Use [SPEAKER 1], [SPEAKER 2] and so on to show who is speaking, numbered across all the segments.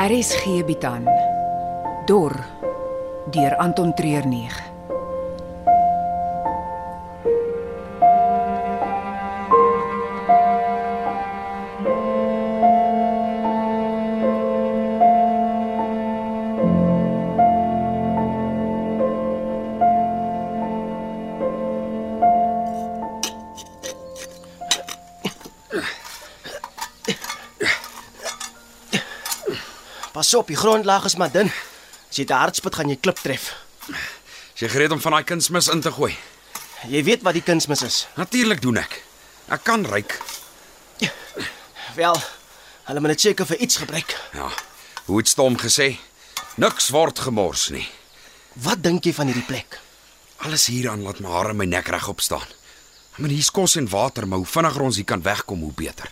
[SPEAKER 1] RSG bied aan Dor deur Anton Treurnig.
[SPEAKER 2] Pas op, die grondlaag is maar dun. As jy te hard spit, gaan jy klip tref.
[SPEAKER 3] Is Jy gereed om van daai kunsmis in te gooi.
[SPEAKER 2] Jy weet wat die kunsmis is.
[SPEAKER 3] Natuurlik doen ek. Ek kan ryk.
[SPEAKER 2] Wel, hulle moet dit seker vir iets gebruik.
[SPEAKER 3] Ja. Hoe het Stom gesê? Niks word gemors nie.
[SPEAKER 2] Wat dink jy van hierdie plek?
[SPEAKER 3] Alles hieraan laat my hare my nek regop staan. Ek meen hier's kos en water, maar hoe vinniger ons hier kan wegkom, hoe beter.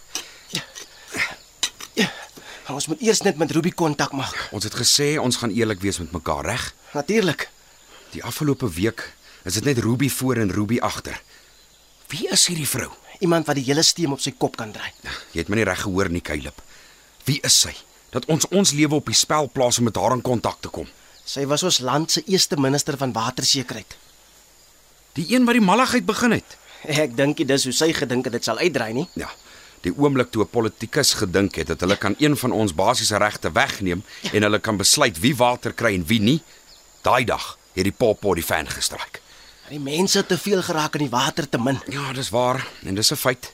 [SPEAKER 2] Ja, ons moet eers net met Ruby kontak maak.
[SPEAKER 3] Ons het gesê ons gaan eerlik wees met mekaar, reg?
[SPEAKER 2] Natuurlik.
[SPEAKER 3] Die afgelope week is dit net Ruby voor en Ruby agter. Wie is hierdie vrou? Ja,
[SPEAKER 2] Iemand wat die hele steen op sy kop kan draai.
[SPEAKER 3] Jy het my nie reg gehoor nie, Kylip. Wie is sy? Dat ons ons lewe op die spel plaas om met haar in kontak te kom.
[SPEAKER 2] Sy was ons land se eerste minister van watersekerheid.
[SPEAKER 3] Die een wat die malligheid begin het.
[SPEAKER 2] Ek dink nie dis hoe sy gedink het dit sal uitdraai nie.
[SPEAKER 3] Ja. Die oomblik toe 'n politikus gedink het dat hulle kan een van ons basiese regte wegneem en hulle kan besluit wie water kry en wie nie, daai dag het die popo die fan gestryk.
[SPEAKER 2] Die mense het te veel geraak en die water te min.
[SPEAKER 3] Ja, dis waar en dis 'n feit.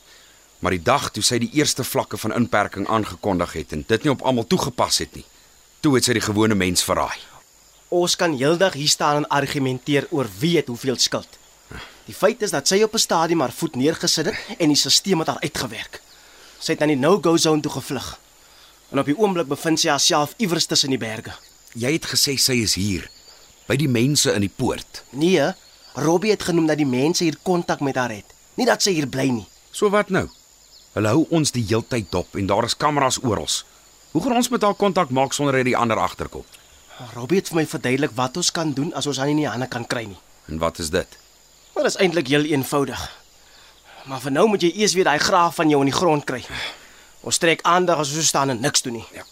[SPEAKER 3] Maar die dag toe sy die eerste vlakke van inperking aangekondig het en dit nie op almal toegepas het nie, toe het sy die gewone mens verraai.
[SPEAKER 2] Ons kan heeldag hier staan en argumenteer oor wie het hoeveel skuld. Die feit is dat sy op 'n stadium haar voet neergesit het en die stelsel het haar uitgewerk. Sy het aan die no-go zone toe gevlug. En op die oomblik bevind sy haarself iewers tussen die berge.
[SPEAKER 3] Jy het gesê sy is hier by die mense in die poort.
[SPEAKER 2] Nee, Robbie het genoem dat die mense hier kontak met haar het. Nie dat sy hier bly nie.
[SPEAKER 3] So wat nou? Hulle hou ons die heeltyd dop en daar is kameras oral. Hoe gaan ons met haar kontak maak sonder dat die ander agterkom?
[SPEAKER 2] Robbie het vir my verduidelik wat ons kan doen as ons haar nie in die hande kan kry nie.
[SPEAKER 3] En wat is dit?
[SPEAKER 2] Maar dit is eintlik heel eenvoudig. Maar vir nou moet jy eers weer daai graaf van jou in die grond kry. Ons trek aandag as ons so staan en niks doen nie.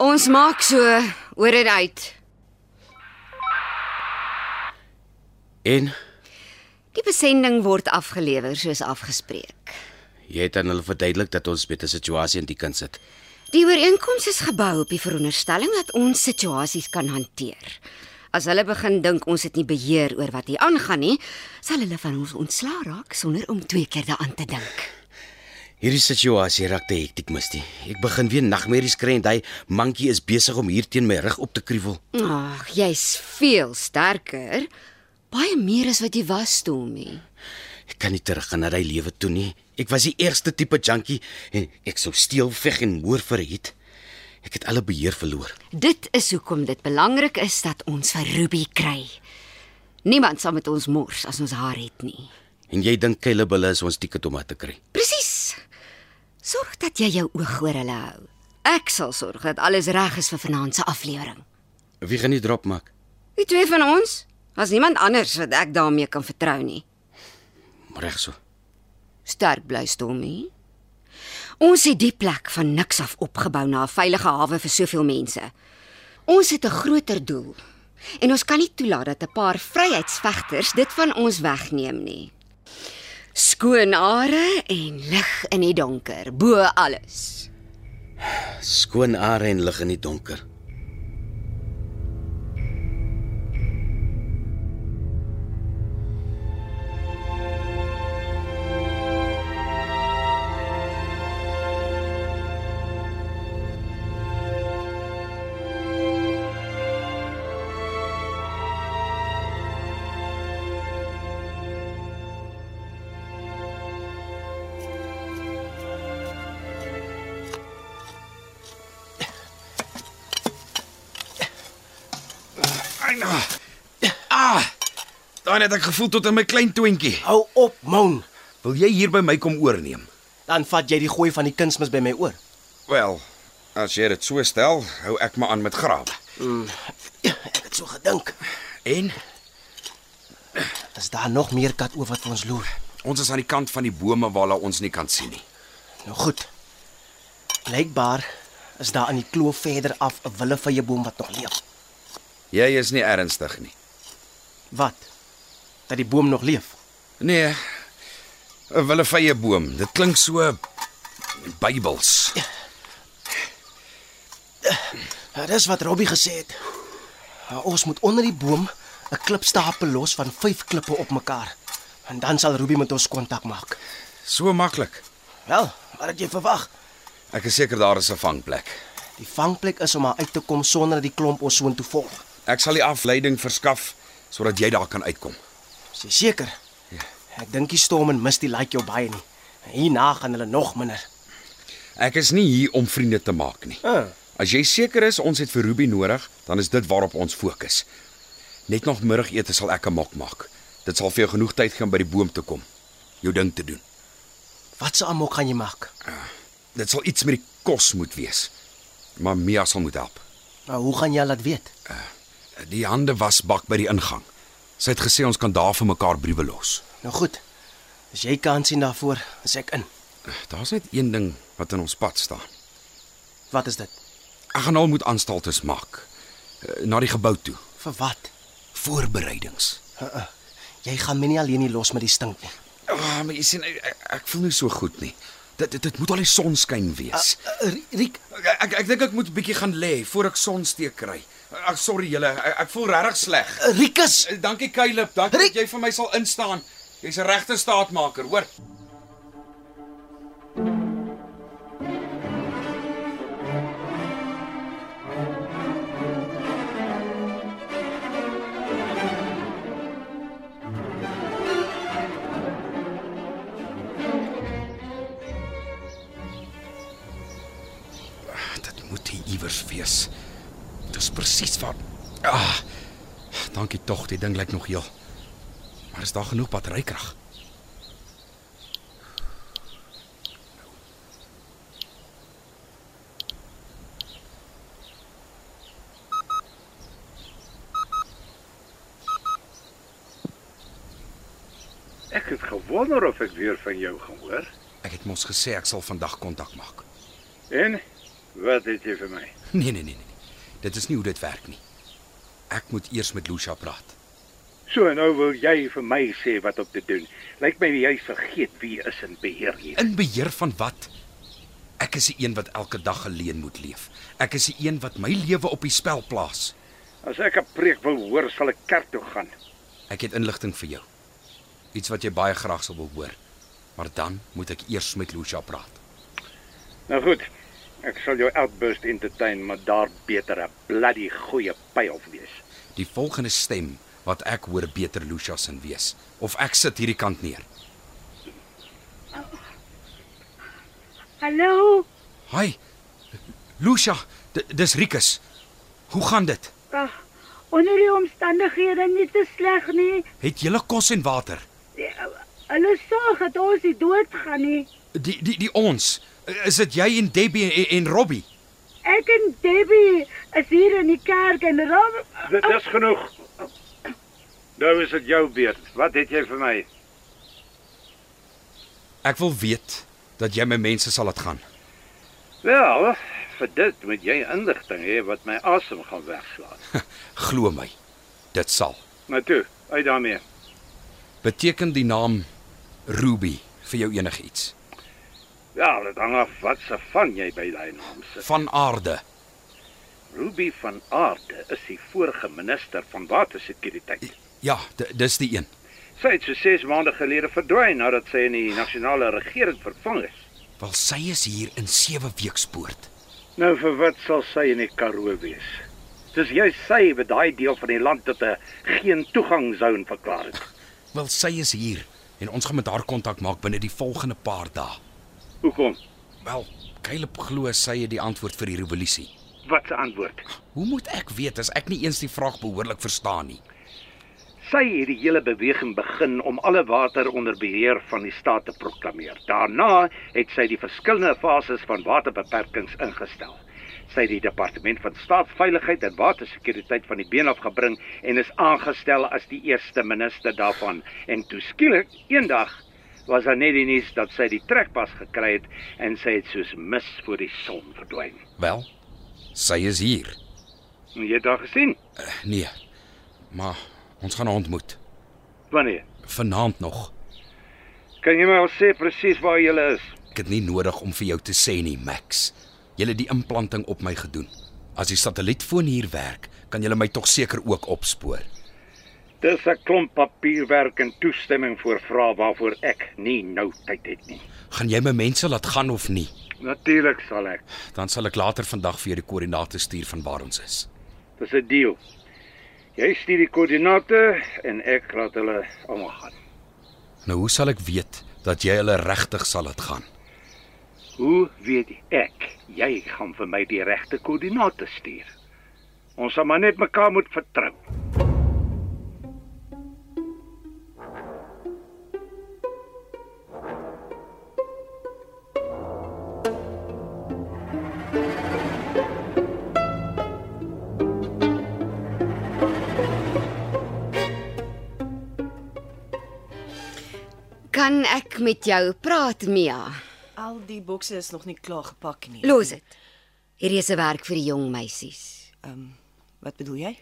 [SPEAKER 4] Ons maak so oor en uit.
[SPEAKER 5] En
[SPEAKER 4] Die besending word afgelewer soos afgespreek.
[SPEAKER 5] jy het aan hulle verduidelik dat ons met 'n situasie in die kind sit.
[SPEAKER 4] Die ooreenkoms is gebou op die veronderstelling dat ons situasies kan hanteer. As hulle begin dink ons het nie beheer oor wat hier aangaan nie, sal hulle van ons ontslaa raak sonder om twee keer daaraan te dink.
[SPEAKER 5] Hierdie situasie raak te hektiek, Misty. Ek begin weer nagmerries kry en hy mankie is besig om hier teen my rug op te kruiwel.
[SPEAKER 4] Ag, jy's veel sterker. Baie meer as wat jy was toe, Mie.
[SPEAKER 5] Ek kan nie teruggaan na daai lewe toe nie. Ek was die eerste tipe junkie en ek sou steel, veg en moer verhiet. Ek het alle beheer verloor.
[SPEAKER 4] Dit is hoekom dit belangrik is dat ons vir Ruby kry. Niemand sal met ons mors as ons haar het nie.
[SPEAKER 5] En jy dink Caleb hulle is ons tiket om haar te kry.
[SPEAKER 4] Presies. Sorg dat jy jou oog oor hulle hou. Ek sal sorg dat alles reg is vir vanaand se aflewering.
[SPEAKER 5] Wie gaan die drop maak?
[SPEAKER 4] Die twee van ons, as niemand anders wat ek daarmee kan vertrou nie.
[SPEAKER 5] Reg so.
[SPEAKER 4] Sterk bly Stormy. Ons het die plek van niks af opgebou na 'n veilige hawe vir soveel mense. Ons het 'n groter doel en ons kan nie toelaat dat 'n paar vryheidsvegters dit van ons wegneem nie. Skoon are en lig in die donker, bo alles.
[SPEAKER 5] Skoon are en lig in die donker.
[SPEAKER 3] Eina. Ah! Dan het ek gevoel tot in my klein toentjie.
[SPEAKER 2] Hou op, Moun.
[SPEAKER 3] Wil jy hier by my kom oorneem?
[SPEAKER 2] Dan vat jy die gooi van die kunsmis by my oor.
[SPEAKER 3] Wel, as jy dit so stel, hou ek my aan met grawe.
[SPEAKER 2] Ja, ek het so gedink.
[SPEAKER 3] En
[SPEAKER 2] Is daar nog meer kat oor wat vir ons loer?
[SPEAKER 3] ons is aan die kant van die bome waar hulle ons nie kan sien nie.
[SPEAKER 2] Nou goed. Blykbaar is daar aan die kloof verder af 'n willevye boom wat nog leef.
[SPEAKER 3] Jy is nie ernstig nie.
[SPEAKER 2] Wat? Dat die boom nog leef.
[SPEAKER 3] Nee. 'n Willevye boom. Dit klink so Bybels.
[SPEAKER 2] Ja, dis wat Robbie gesê het. Ja, Ons moet onder die boom 'n klipstapel los van 5 klippe op mekaar. En dan sal Robbie met ons kontak maak.
[SPEAKER 3] So maklik.
[SPEAKER 2] Wel, wat het jy verwag?
[SPEAKER 3] Ek is seker daar is 'n vangplek.
[SPEAKER 2] Die vangplek is om haar uit te kom sonder dat die klomp ons soontoe volg.
[SPEAKER 3] Ek sal die afleiding verskaf sodat jy daar kan uitkom.
[SPEAKER 2] Is jy seker? Ek dink die storm en mis die laat jou baie nie. En Hierna gaan hulle nog minder.
[SPEAKER 3] Ek is nie hier om vriende te maak nie.
[SPEAKER 2] Ah.
[SPEAKER 3] As jy seker is ons het vir Ruby nodig, dan is dit waarop ons fokus. Net nog middagete sal ek 'n mok maak. Dit sal vir jou genoeg tyd gee om by die boom te kom. Jou ding te doen.
[SPEAKER 2] Wat se amok gaan jy maak?
[SPEAKER 3] Dit sal iets met die kos moet wees. Maar Mia sal moet help.
[SPEAKER 2] Nou, hoe gaan jy laat weet?
[SPEAKER 3] Die hande wasbak by die ingang. Sy het gesê ons kan daar vir mekaar briewe los.
[SPEAKER 2] Nou goed. As jy kan sien daarvoor, is ek in.
[SPEAKER 3] Daar's net een ding wat in ons pad staan.
[SPEAKER 2] Wat is dit?
[SPEAKER 3] Ek gaan al moet aanstaltes maak eh, na die gebou toe.
[SPEAKER 2] Vir wat?
[SPEAKER 3] Voorbereidings.
[SPEAKER 2] Uh, uh. Jy gaan my nie alleen nie los met die stink nie.
[SPEAKER 3] Ah, oh, maar jy sien ek, ek voel nie so goed nie. Dit dit, dit moet al die sonskyn wees.
[SPEAKER 2] Uh, Riek,
[SPEAKER 3] Ek ek dink ek moet 'n bietjie gaan lê voor ek sonsteek kry. Ag sorry julle, ek, ek voel regtig sleg.
[SPEAKER 2] uh, Rikus,
[SPEAKER 3] Eh, Dankie Kylip, dankie
[SPEAKER 2] Riek!
[SPEAKER 3] dat jy vir my sal instaan. Jy's 'n regte staatmaker, hoor. Ah, Dit moet hier iewers wees. Dis presies waar. Ah. Dankie tog, die ding lyk nog heel. Maar is daar genoeg batterykrag?
[SPEAKER 6] Ek het gewonder of ek weer van jou gaan hoor.
[SPEAKER 3] Ek het mos gesê ek sal vandag kontak maak.
[SPEAKER 6] En wat het jy vir my?
[SPEAKER 3] Nee, nee, nee, nee. Dit is nie hoe dit werk nie. Ek moet eers met Lucia praat.
[SPEAKER 6] So nou wil jy vir my sê wat om te doen. Lyk my jy vergeet wie is in beheer hier.
[SPEAKER 3] In beheer van wat? Ek is die een wat elke dag geleen moet leef. Ek is die een wat my lewe op die spel plaas.
[SPEAKER 6] As ek 'n preek wil hoor, sal ek kerk toe gaan.
[SPEAKER 3] Ek het inligting vir jou. Iets wat jy baie graag sal wil hoor. Maar dan moet ek eers met Lucia praat.
[SPEAKER 6] Nou goed. Ek sal jou outburst entertain, maar daar beter 'n bloody goeie pyl wees.
[SPEAKER 3] Die volgende stem wat ek hoor beter Lucia se wees of ek sit hierdie kant neer.
[SPEAKER 7] Hallo,
[SPEAKER 3] Hi. Lucia, d- dis Rikus. Hoe gaan dit?
[SPEAKER 7] ag, onder die omstandighede nie te sleg nie.
[SPEAKER 3] Het julle kos en water?
[SPEAKER 7] Die- Hulle sorg dat ons nie doodgaan nie.
[SPEAKER 3] Die die die ons. Is dit jy en Debbie en, en Robbie?
[SPEAKER 7] Ek en Debbie is hier in die kerk en Rob,
[SPEAKER 6] Dit is genoeg. Nou is dit jou beurt. Wat het jy vir my?
[SPEAKER 3] Ek wil weet dat jy my mense sal laat gaan.
[SPEAKER 6] Wel, vir dit moet jy inligting hê wat my asem gaan wegslaan.
[SPEAKER 3] Glo my. Dit sal.
[SPEAKER 6] Maar toe, uit daarmee.
[SPEAKER 3] Beteken die naam Ruby vir jou enigiets?
[SPEAKER 6] Ja, dit hang af wat se van jy by daai naam sit.
[SPEAKER 3] Van aarde.
[SPEAKER 6] Ruby van Aarde is die vorige minister van watersekuriteit.
[SPEAKER 3] Ja, d- dis die een.
[SPEAKER 6] Sy het so 6 maande gelede verdwyn nadat sy in die nasionale regering vervang is.
[SPEAKER 3] Wel sy is hier in 7 weekspoort.
[SPEAKER 6] Nou vir wat sal sy in die Karoo wees? Dis jy sy wat daai deel van die land tot 'n geen toegangsone verklaar het.
[SPEAKER 3] Wel sy is hier en ons gaan met haar kontak maak binne die volgende paar dae.
[SPEAKER 6] Hoekom?
[SPEAKER 3] Wel, Caleb glo sy het die antwoord vir die revolusie.
[SPEAKER 6] Wat se antwoord?
[SPEAKER 3] Hoe moet ek weet as ek nie eens die vraag behoorlik verstaan nie?
[SPEAKER 6] Sy het die hele beweging begin om alle water onder beheer van die staat te proklameer. Daarna het sy die verskillende fases van waterbeperkings ingestel. Sy het die departement van staatsveiligheid en watersekuriteit van die been af gebring en is aangestel as die eerste minister daarvan. En toe skielik eendag was daar net die nuus dat sy die trekpas gekry het en sy het soos mis voor die son verdwyn.
[SPEAKER 3] Wel, sy is hier.
[SPEAKER 6] En Jy het haar gesien?
[SPEAKER 3] Nee. Maar ons gaan haar ontmoet.
[SPEAKER 6] Wanneer?
[SPEAKER 3] Vanaand nog.
[SPEAKER 6] Kan jy my al sê presies waar jy is?
[SPEAKER 3] Ek het nie nodig om vir jou te sê nie, Max. Jy het die implanting op my gedoen. As die satellietfoon hier werk, kan jy my tog seker ook opspoor.
[SPEAKER 6] Dis 'n klomp papierwerk en toestemming voor vrae waarvoor ek nie nou tyd het nie.
[SPEAKER 3] Gaan jy my mense laat gaan of nie?
[SPEAKER 6] Natuurlik sal ek.
[SPEAKER 3] Dan sal ek later vandag vir jou die koördinate stuur van waar ons is.
[SPEAKER 6] Dis 'n deal. Jy stuur die koördinate en ek laat hulle almal gaan.
[SPEAKER 3] Nou hoe sal ek weet dat jy hulle regtig sal laat gaan?
[SPEAKER 6] Hoe weet ek jy gaan vir my die regte koördinate stuur? Ons sal maar net mekaar moet vertrou.
[SPEAKER 4] Kan ek met jou praat, Mia?
[SPEAKER 8] Al die bokse is nog nie klaar gepak nie.
[SPEAKER 4] Los dit. Hierdie is 'n werk vir die jong meisies.
[SPEAKER 8] Ehm, um, wat bedoel jy?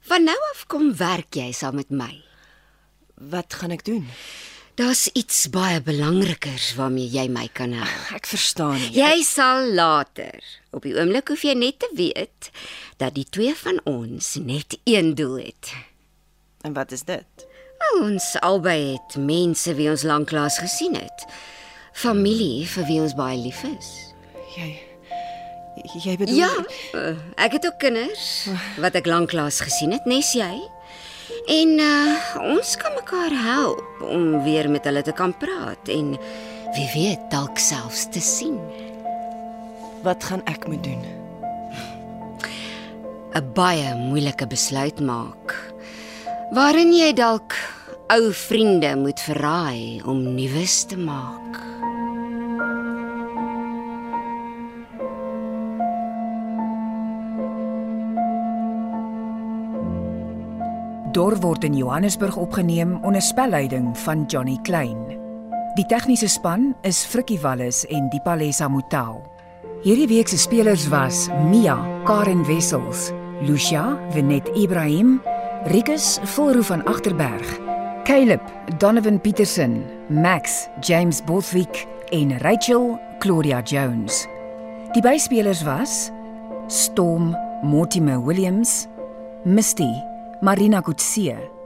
[SPEAKER 4] Van nou af kom werk jy saam met my.
[SPEAKER 8] Wat gaan ek doen?
[SPEAKER 4] Daar's iets baie belangrikers waarmee jy my kan help.
[SPEAKER 8] Ek verstaan nie.
[SPEAKER 4] Jy sal later. Op die oomblik hoef jy net te weet dat die twee van ons net een doel het.
[SPEAKER 8] En wat is dit?
[SPEAKER 4] Ons albei het mense wie ons lanklaas gesien het. Familie vir wie ons baie lief is.
[SPEAKER 8] Jy jy bedoel
[SPEAKER 4] Ja, eh, ek het ook kinders wat ek lanklaas gesien het, nes jy? En uh, ons kan mekaar help om weer met hulle te kan praat en wie weet dalk selfs te sien.
[SPEAKER 8] wat gaan ek moet doen?
[SPEAKER 4] 'n Baie moeilike besluit maak waarin jy dalk ou vriende moet verraai om nuus te maak.
[SPEAKER 1] Dor word in Johannesburg opgeneem onder spelleiding van Johnny Klein. Die tegniese span is Frikkie Wallis en Dipalesa Motelo. Hierdie week se spelers was Mia, Karen Wessels, Lucia, Venet Ibrahim, Rikus Volroo van Agterberg, Caleb, Donovan Petersen, Max, James Bothwick en Rachel Claudia Jones. Die byspelers was Storm Mortimer Williams, Misty, Marina Kutse,